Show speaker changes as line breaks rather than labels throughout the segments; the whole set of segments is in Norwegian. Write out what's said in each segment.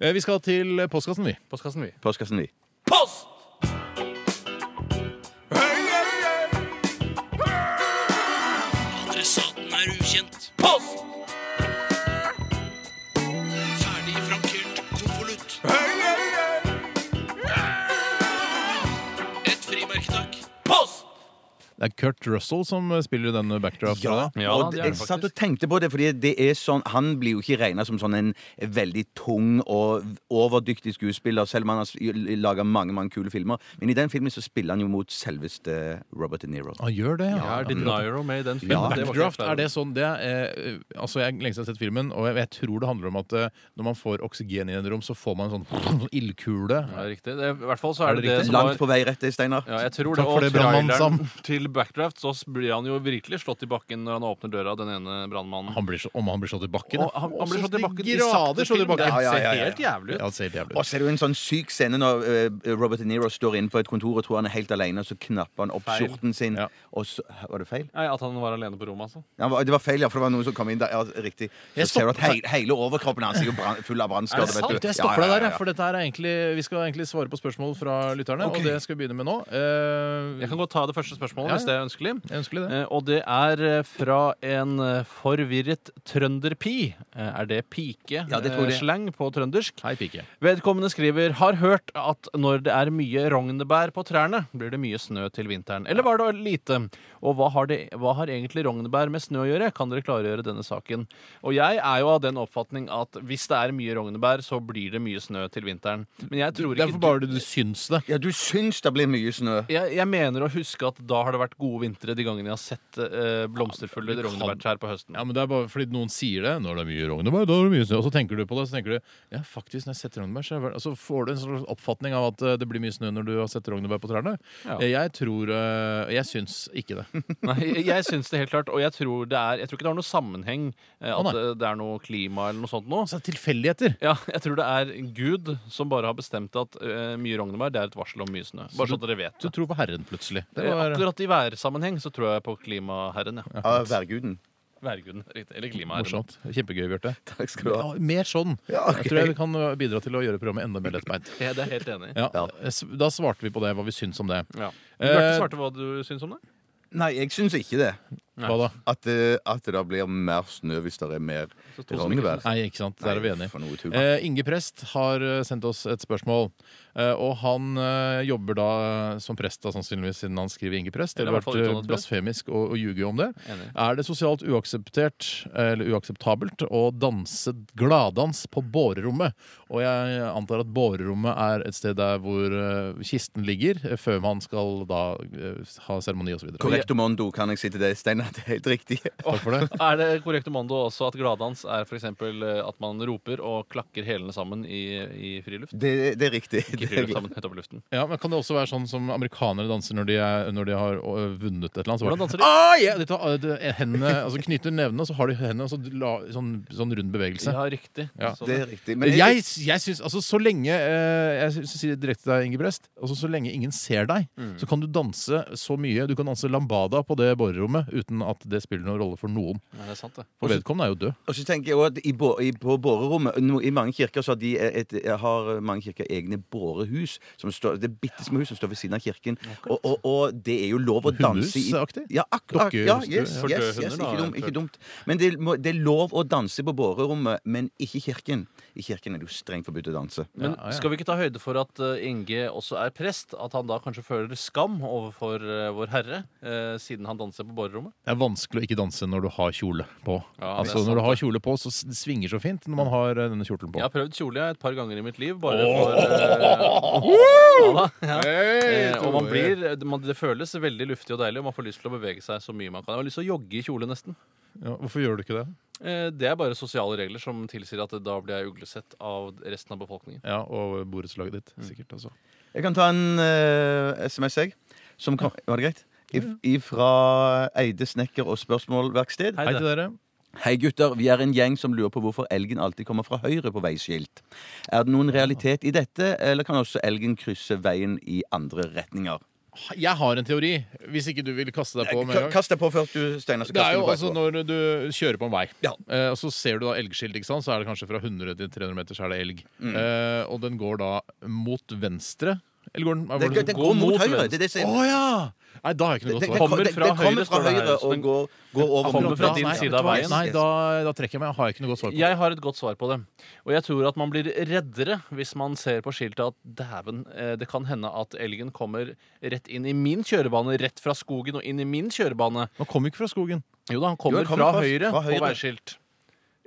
Eh, Vi skal til postkassen, vi.
Postkassen, vi.
Postkassen, vi.
Post!
Adressaten er ukjent.
Post!
Ferdig frankert konvolutt. Et frimerke, takk.
Post!
Det er Kurt Russell som eh, spiller den backdraften. der.
Ja,
og
det
det
er det
jeg satt og
faktisk.
tenkte på det, fordi det er sånn, han blir jo ikke regna som sånn en veldig tung og overdyktig skuespiller, selv om han har laga mange mange kule filmer. Men i den filmen så spiller han jo mot selveste Robert De Niro.
Han gjør det,
Ja,
ja.
er De Niro med i
Men
den filmen? Det var ikke
backdraft,
jeg klar
er
over.
det sånn det er, eh, Altså, Jeg lengst har sett filmen, og jeg, jeg tror det handler om at eh, når man får oksygen inn i et rom, så får man en sånn ildkule.
Ja, riktig. Det, I hvert fall så er,
det
det det
riktig?
som var
Langt på vei rett, det, Steinar.
ja, jeg tror
Takk
det,
for
og
det, brannmann
traileren til Backdraft, så blir han jo virkelig slått i bakken når han åpner døra av den ene brannmannen.
Han blir så, om han blir slått i bakken?
Og han, han blir slått i bakken i
sakte
sakte
slått i
film. Det
bakken.
Ja, ja, ja,
ser
ja.
helt jævlig ut.
Ja, det ser helt jævlig
Og
ut.
så er det jo en sånn syk scene når eh, Robert De Niro står inne på et kontor og tror han er helt alene, og så knapper han opp
Feil.
skjorten sin,
Ja.
og så Hæ, Var det feil?
Nei, At han var alene på rommet, altså.
Ja, det var- det var feil, ja, for det var noen som kom inn der. Ja, riktig. Så
Jeg
ser du at
stoppet-
hele, hele overkroppen hans er jo brann- full av
Er
brannskader.
det
vet
sant?
du.
Jeg stopper
Ja,
deg
ja,
der,
ja,
jeg, for dette her er egentlig, vi skal egentlig svare på spørsmål fra lytterne.
Ok.
Og det skal vi begynne med nå. Eh,
Jeg kan godt ta det første spørsmålet,
Ja,
hvis det er ønskelig.
jeg ønsker det.
Eh, Og det er eh, fra en eh, forvirret trønderpi. Eh, Er det
Ja, det tror jeg.
pike-slang på trøndersk?
Hei, pike.
Vedkommende skriver har hørt at når det er mye rognebær på trærne, blir det mye snø til vinteren. Eller var det lite? Og hva har, det, hva har egentlig rognebær med snø å gjøre? Kan dere klargjøre denne saken? Og jeg er jo av den oppfatning at hvis det er mye rognebær, så blir det mye snø til vinteren. Men jeg tror ikke
Derfor bare du syns det.
Ja, du syns det blir mye snø.
jeg, jeg mener å huske at da har det vært gode vintre de gangene jeg har sett eh, blomsterfulle
Ja, men du kan-
rognebærtrær på høsten.
Ja, men det er bare fordi noen sier det. Når det er mye rognebær, da er det mye snø. Og så tenker du på det, så tenker du ja, faktisk, når jeg setter rognebær, så er det vel- altså, får du en slags oppfatning av at eh, det blir mye snø når du har sett rognebær på trærne.
Ja.
Eh, Jeg tror eh, Jeg syns ikke det.
Nei, jeg- jeg syns det helt klart, og jeg tror, det er, jeg tror ikke det har noe sammenheng eh,
Å,
at
nei.
eh, det er noe klima eller noe sånt nå.
Altså, tilfeldigheter.
Ja, jeg tror det er Gud som bare har bestemt at eh, mye rognebær det er et varsel om mye snø.
Så
Bare så dere vet
Du
det.
tror på Herren plutselig. Det
Eh,
var
Akkurat i værsammenheng så tror jeg på klimaherren, ja.
Av værguden.
Værguden. Riktig. Eller klimaherren.
morsomt. Kjempegøy, Bjarte.
Takk skal du ha.
Ja, mer sånn.
Ja, ok.
Jeg tror jeg vi kan eh, bidra til å gjøre programmet enda mer lettbeint.
Ja, det er jeg helt enig i.
Ja, Eh, s- Da svarte vi på det, hva vi syns om det.
Ja.
Eh,
Bjarte svarte hva du syns om det.
Nei, jeg syns ikke det.
Hva da?
At, eh, at det da blir mer snø hvis det er mer
Så to som ikke
rognevær.
Nei, ikke sant. Der er vi
Nei,
enige.
for noe tull.
Eh, Inge Prest har eh, sendt oss et spørsmål. Eh, og han eh, jobber da eh, som prest, da, sannsynligvis, siden han skriver Inge Prest. Det
Eller i
ville vært
hvert fall
eh,
utdannet prest.
blasfemisk å, å ljuge om det.
Enig.
Er det sosialt uakseptert, eh, eller uakseptabelt å danse gladdans på bårerommet? Og jeg antar at bårerommet er et sted der hvor eh, kisten ligger, eh, før man skal da eh, ha seremoni osv. Takk
Correcto mondo, kan jeg si til deg, Steinar. Det er helt riktig.
for det.
Er det korrekt Omando også at gladdans er f.eks. at man roper og klakker hælene sammen i, i friluft?
Det, det er riktig.
Ikke
Det er
friluft
glad.
sammen, høyt over luften.
Ja, men Kan det også være sånn som amerikanere danser når de, er, når de har ø, vunnet et eller annet? Så bare-
Hvordan danser de?
Ah, yeah! de? tar, ø, de- hendene, altså knytter nevene, og så har de hendene og så la, sånn, sånn rund bevegelse.
Ja, riktig.
Ja.
Sånn.
Det er riktig. Men
Jeg, jeg syns altså så lenge ø, Jeg syns- sier det direkte til deg, Inge Brest. Altså, så lenge ingen ser deg,
Mm.
så kan du danse så mye. Du kan danse lambada på det borerommet uten at det spiller noen rolle for noen.
Ja, det er sant, det.
For vedkommende er jo død.
Og så tenker jeg også at i, bå- i, på bårerommet no, I mange kirker så har, de et, har eh, mange kirker egne bårehus. Som står, det er bitte små hus som står ved siden av kirken. Og, og, og det er jo lov å danse i
Hundehusaktig?
Ja, akkurat.
Dokkehus,
Ja,
du-
yes,
for døde
yes, yes,
hunder, da,
ikke, dum, ikke
eventuelt.
dumt. Men det, må, det er lov å danse på bårerommet, men ikke i kirken. I kirken er det jo strengt forbudt å danse.
Men
Ja, ja.
skal vi ikke ta høyde for at eh, Inge også er prest? At han da kanskje føler skam overfor eh, Vår Herre, eh, siden han danser på borerommet?
Det er vanskelig å ikke danse når du har kjole på.
Ja, det er
altså Når
sant,
du har kjole på, så s- det svinger så fint når man har ø, denne kjortelen på.
Jeg har prøvd kjole jeg, et par ganger i mitt liv, bare for eh, ja, da, ja. Eh, og man blir, man, Det føles veldig luftig og deilig, og man får lyst til å bevege seg så mye man kan. Jeg har lyst til å jogge i kjole, nesten.
Ja, hvorfor gjør du ikke det?
Eh, Det er bare sosiale regler som tilsier at da blir jeg uglesett av resten av befolkningen.
Ja, Og borettslaget ditt, sikkert. altså
Jeg kan ta en eh, SMS, jeg. Som kom, var det greit? If, ifra Eide snekker og spørsmålverksted.
Hei,
Hei
det.
til dere.
Hei gutter, vi er en gjeng som lurer på hvorfor elgen alltid kommer fra høyre på veiskilt. Er det noen realitet i dette, eller kan også elgen krysse veien i andre retninger?
Jeg har en teori, hvis ikke du vil kaste deg på med en gang.
Kast deg på først, du, Steinar. så
Det er jo
kaster du
altså
bakpå.
når du kjører på en vei,
Ja.
eh, og så ser du da elgskilt, ikke sant? så er det kanskje fra 100 til 300 meter så er det elg. Eh, og den går da mot venstre. Eller går den, hva var
Den,
det
den
som-
går mot
mot
høyre.
venstre.
Det er det som
Å
er
ja! Nei, da har jeg ikke noe
Den-
godt
den-
svar.
Kommer
den-
fra
den kommer
høyre,
fra
står det her,
høyre
så
og
den
går, går over
kommer
mot
fra
Ja,
din
nei,
side
vet
av
du hva?
veien.
Nei, da, da trekker jeg meg. Jeg har ikke noe godt svar på det.
Jeg har et godt svar på det. Og jeg tror at man blir reddere hvis man ser på skiltet at dæven, eh, det kan hende at elgen kommer rett inn i min kjørebane, rett fra skogen og inn i min kjørebane.
Han kom ikke fra skogen.
Jo da, han
Jo,
kommer,
han kommer
fra,
fra-
høyre
fra høyre.
på veiskilt.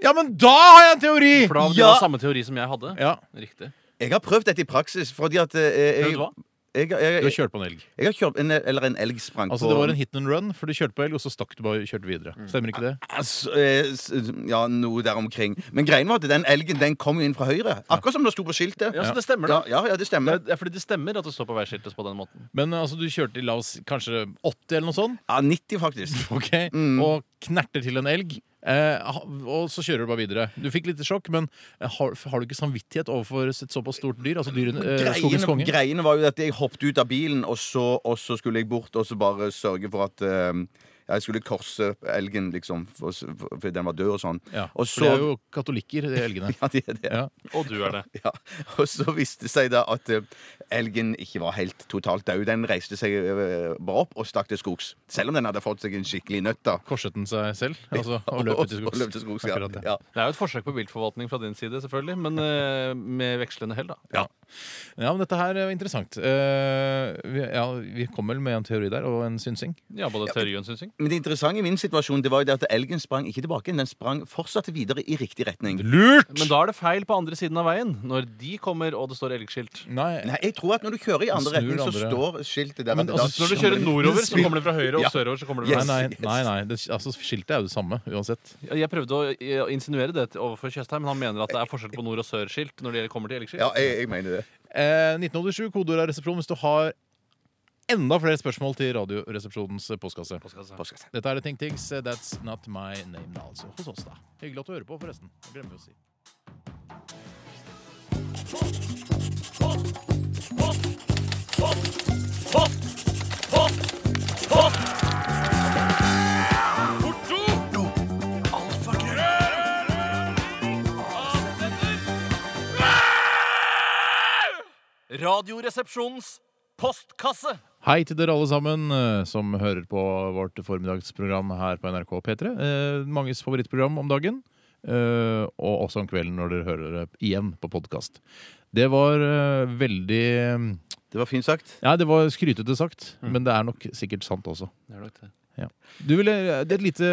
Ja, men da har jeg en teori!
For da, det
Ja!
var samme teori som jeg hadde.
Ja,
Riktig.
Jeg har prøvd dette i praksis, fordi at eh, jeg,
Prøvd hva?
Jeg, jeg, jeg,
Du har kjørt på en elg.
jeg har kjørt en, eller en elg sprang
Altså
på
Det var en hit and run, for du kjørte på elg, og så stakk du bare og kjørte videre. Stemmer ikke det?
Altså, eh, s- Ja, noe der omkring. Men greien var at den elgen den kom jo inn fra høyre. Akkurat som det sto på skiltet.
Ja, så det stemmer,
Ja,
da.
ja, ja, det stemmer.
Det er fordi det stemmer at det står på veiskiltet på den måten.
Men altså, du kjørte i la oss kanskje 80 eller noe sånt,
Ja, 90, faktisk.
Ok
Mm.
og knerter til en elg. Eh, ha- og så kjører du bare videre. Du fikk litt sjokk, men eh, har, har du ikke samvittighet overfor et såpass stort dyr? Altså dyren, eh, skogens
Greiene,
konge?
greiene var jo at jeg hoppet ut av bilen, og så, og så skulle jeg bort og så bare sørge for at eh, jeg skulle korse elgen, liksom, for, for den var død og sånn.
Ja,
Og
for de
så
er jo katolikker, de elgene.
ja, det er det.
Ja.
Og du er det.
Ja, og så viste det seg da at eh, elgen ikke var helt totalt død. Den reiste seg eh, bare opp og stakk til skogs. Selv om den hadde fått seg en skikkelig nøtt, da.
Korset den seg selv? Altså, og løp ut i
Og løp til
skogs?
skogs, ja.
Akkurat det.
ja.
Det er jo et forsøk på viltforvaltning fra din side, selvfølgelig, men eh, med vekslende hell, da.
Ja, men dette her er interessant. Eh, vi, ja, vi kom vel med en teori der, og en synsing.
Ja, både teori og en synsing.
Men det interessante i min situasjon det var jo det at elgen sprang ikke tilbake, den sprang fortsatt videre i riktig retning.
Lurt!
Men da er det feil på andre siden av veien, når de kommer og det står elgskilt.
Nei,
Nei, jeg tror at når du kjører i andre
Snur
retning, så
andre.
står skiltet der.
Men
at
altså,
da-
Når du kjører nordover, så kommer det fra høyre, og sørover så kommer det fra
nei,
Yes.
venstre.
nei, nei, nei. Det, altså, skiltet er jo det samme uansett.
Ja, Jeg prøvde å eh, insinuere det til- overfor Tjøstheim, men han mener at det er forskjell på nord- og sørskilt når det kommer til elgskilt.
Ja, jeg, jeg mener det.
Eh, 1987, kodeord er resepsjon hvis du har enda flere spørsmål til Radioresepsjonens postkasse.
Postkasse.
Dette er det Think Tings, That's Not My Name, altså. Hos oss, da. Hyggelig at du hører på, forresten. Jeg glemmer å si.
Radioresepsjonens postkasse!
Hei til dere alle sammen eh, som hører på vårt formiddagsprogram her på NRK P3. Eh, manges favorittprogram om dagen, eh, og også om kvelden når dere hører det igjen på podkast. Det var eh, veldig
Det var fint sagt.
Nei, det var skrytete sagt,
Mm.
men det er nok sikkert sant også.
Det er nok det.
Du ville, det er et lite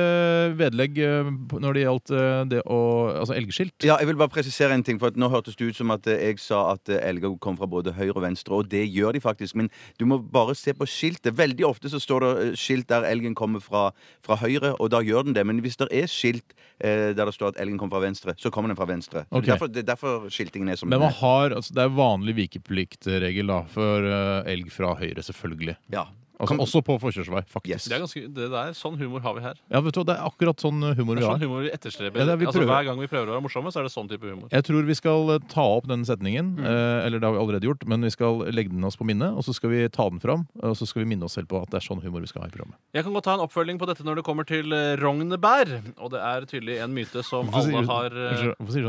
vedlegg eh, på- når det gjaldt eh, det å Altså elgskilt.
Ja, jeg vil bare presisere en ting, for at nå hørtes det ut som at eh, jeg sa at eh, elger kom fra både høyre og venstre, og det gjør de faktisk, men du må bare se på skiltet. Veldig ofte så står det eh, skilt der elgen kommer fra, fra høyre, og da gjør den det, men hvis det er skilt eh, der det står at elgen kommer fra venstre, så kommer den fra venstre. Så
Ok.
Derfor, det er derfor skiltingen er som
Men
den
man
er.
har, altså, det er vanlig vikepliktregel da, for eh, elg fra høyre, selvfølgelig.
Ja.
Altså,
Kom-
også på forkjørsvei, faktisk.
Yes.
Det er ganske, det der, sånn humor har vi her.
Ja, vet du hva, Det er akkurat sånn humor vi
Det er
har.
sånn humor vi etterstreber.
Ja, det er vi
altså,
prøver.
hver gang vi prøver å være morsomme, så er det sånn type humor.
Jeg tror vi skal eh, ta opp den setningen.
Mm.
Eh, eller det har vi allerede gjort, men vi skal legge den oss på minnet, og så skal vi ta den fram. Og så skal vi minne oss selv på at det er sånn humor vi skal ha i programmet.
Jeg kan godt ta en oppfølging på dette når det kommer til eh, rognebær. Og det er tydelig en myte som
Hvorfor
alle
sier du-
har eh,
Unnskyld, Hvorfor sier du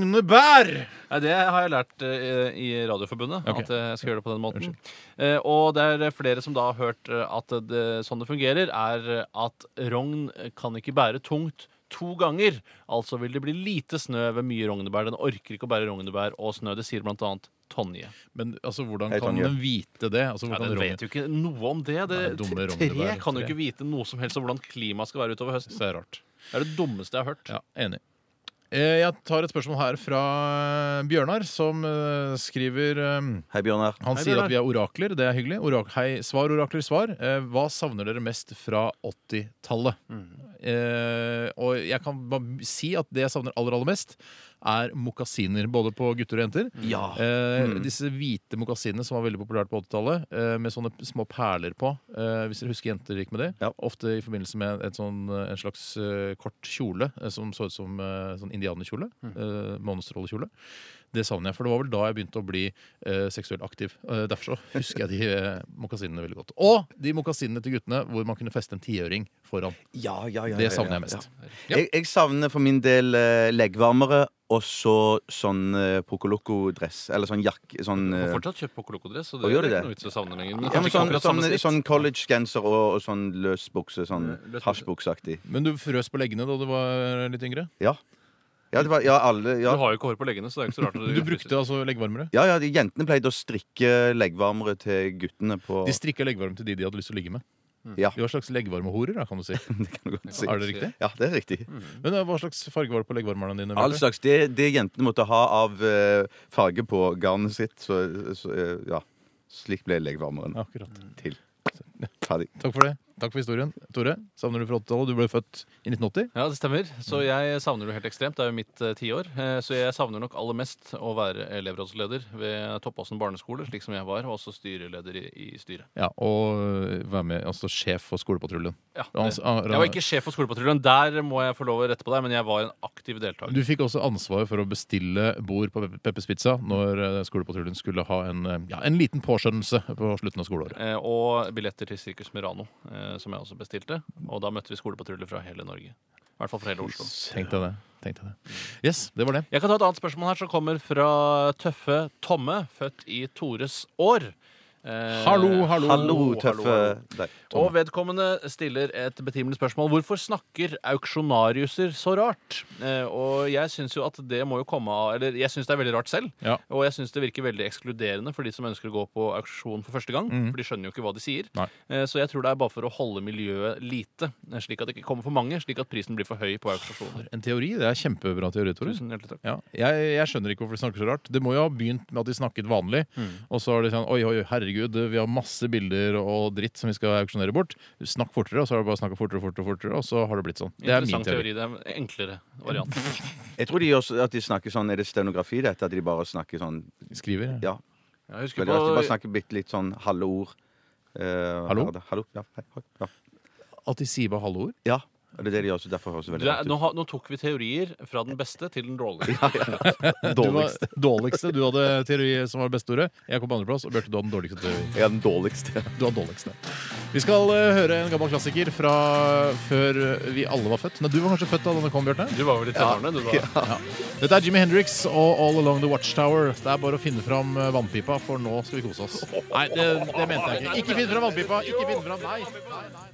sånn? Rognebær!
Nei, Det har jeg lært eh, i Radioforbundet,
Ok.
at jeg skal gjøre det på den måten. Eh, og det er flere som da har hørt eh, at det, sånn det fungerer, er at rogn kan ikke bære tungt to ganger. Altså vil det bli lite snø ved mye rognebær. Den orker ikke å bære rognebær og snø. Det sier blant annet Tonje.
Men altså, hvordan
Hei,
kan
Tonje.
den vite det? Altså,
Ja,
hvordan
den
rogn-
vet jo ikke noe om det. det
Nei, dumme
tre
rognebær,
kan jo
tre.
ikke vite noe som helst om hvordan klimaet skal være utover høsten.
Så det er rart.
Det er det dummeste jeg har hørt.
Ja, Enig. Eh, Jeg tar et spørsmål her fra eh, Bjørnar, som eh, skriver eh,
Hei, Bjørnar.
Han
Hei,
sier
Bjørnar.
at vi er orakler. Det er hyggelig. Orak hei, svar, orakler, svar. Eh, hva savner dere mest fra
Mm.
80-tallet? Eh, og jeg kan bare si at det jeg savner aller, aller mest, er mokasiner. Både på gutter og jenter.
Ja.
Eh, Disse hvite mokasinene som var veldig populært på 80-tallet, eh, med sånne små perler på. Eh, hvis dere husker jenter gikk med det.
Ja.
Ofte i forbindelse med et sånn, eh, en slags eh, kort kjole eh, som så ut som eh, sånn indianerkjole.
Mm.
Eh, Månestrålekjole. Det savner jeg, for det var vel da jeg begynte å bli eh, seksuelt aktiv. Eh, derfor så husker jeg de eh, mokasinene veldig godt. Og de mokasinene til guttene hvor man kunne feste en tiøring foran.
Ja, ja, ja,
Det
ja,
savner
ja,
jeg mest.
Ja. Jeg, jeg savner for min del eh, leggvarmere og så sånn eh, Procoloco-dress. Eller sånn jakke sånn,
Du
eh,
får fortsatt kjøpt Pokoloko-dress, så det
Å,
er
gjør du
ikke
det?
noe vits i å savne lenger. Men
ja, men
kanskje
sånn,
ikke akkurat
sånn,
samme snitt.
sånn collegegenser og, og sånn løs bukse. Sånn
løs bukse.
hasjbukseaktig.
Men du frøs på leggene da du var eh, litt yngre?
Ja. Ja, det var, ja, alle ja.
Du har jo ikke hår på leggene, så det er ikke så rart. at
Du brukte altså leggvarmere?
Ja, ja, de Jentene pleide å strikke leggvarmere til guttene på
De strikka leggvarme til de de hadde lyst til å ligge med.
Mm.
Ja,
De var slags leggvarmehorer, da, kan du si.
det kan du godt si.
Er det riktig?
Ja, det er riktig.
Men eh, Hva slags farge var det på leggvarmerne dine?
All
Bjarte?
slags. Det, det jentene måtte ha av eh, farge på garnet sitt, så, så eh, ja. Slik ble leggvarmeren
Akkurat.
til. Ferdig.
Takk for det. Takk for historien. Tore, savner du fra 80-tallet? Du ble født i 1980.
Ja, det stemmer. Så jeg savner det helt ekstremt. Det er jo mitt eh, tiår. Eh, så jeg savner nok aller mest å være elevrådsleder ved Toppåsen barneskole, slik som jeg var, og også styreleder i, i styret.
Ja, Og eh, være med, altså sjef for skolepatruljen.
Ja,
Og
det.
hans- ah,
Eh, Jeg var ikke sjef for skolepatruljen. Der må jeg få lov å rette på deg, men jeg var en aktiv deltaker.
Du fikk også ansvaret for å bestille bord på Pe- Peppers Pizza når eh, skolepatruljen skulle ha en, eh, ja, en liten påskjønnelse på slutten av skoleåret.
Eh, og billetter til Sirkus Murano, eh, som jeg også bestilte. Og da møtte vi skolepatruljer fra hele Norge. I hvert fall fra hele Oslo.
Tenkte jeg det. Tenkte jeg det. Yes, det var det.
Jeg kan ta et annet spørsmål her som kommer fra tøffe Tomme, født i Tores år. Eh,
Hallo, hallo.
Hallo, tøffe deg.
Og vedkommende stiller et betimelig spørsmål. Hvorfor snakker auksjonariuser så rart? Eh, og jeg syns jo at det må jo komme av Eller jeg syns det er veldig rart selv.
Ja.
Og jeg syns det virker veldig ekskluderende for de som ønsker å gå på auksjon for første gang. For de skjønner jo ikke hva de sier.
Mhm. Nei.
Eh, så jeg tror det er bare for å holde miljøet lite, eh, slik at det ikke kommer for mange. Slik at prisen blir for høy på auksjoner.
En teori. Det er kjempebra teori, Tore.
Tusen hjertelig takk.
Ja, jeg, jeg skjønner ikke hvorfor de snakker så rart. Det må jo ha begynt med at de snakket vanlig. Og så er det sånn Oi, oi, oi, herregud, vi har masse bilder og dritt som vi skal auksjonere bort. Snakk fortere, og så har de bare snakka fortere og fortere, og fortere, og så har det blitt sånn. Det er min
Interessant
teori.
teori. Det er en enklere variant.
Jeg tror de også, at de snakker sånn Er det stenografi, dette? At de bare snakker sånn
Skriver.
Ja.
Jeg husker
Veldig rart. De bare
på,
snakker bitte litt sånn halve ord. Eh,
Hallo?
her er det. Hallo? Ja. Hei. hei, Ja.
At de sier bare halve ord.
ja. Og det er det de gjør, så derfor høres det
du,
veldig
er- nå,
rart ut.
har- nå tok vi teorier fra den beste til den dårlige.
Du var dårligste. Du hadde teori som var det beste ordet. Jeg kom på andreplass, og Bjarte, du hadde den dårligste teori.
Jeg er den dårligste.
Du har dårligste. Vi skal eh, høre en gammel klassiker fra før vi alle var født. Nei, du var kanskje født da denne kom, Bjarte?
Du var vel i tenårene, du da?
Dette er Jimmy Hendrix og All Along the Watchtower. Det er bare å finne fram eh, vannpipa, for nå skal vi kose oss. Nei, det, det mente jeg ikke. Ikke finn fram vannpipa! Ikke finn fram, nei. nei, nei.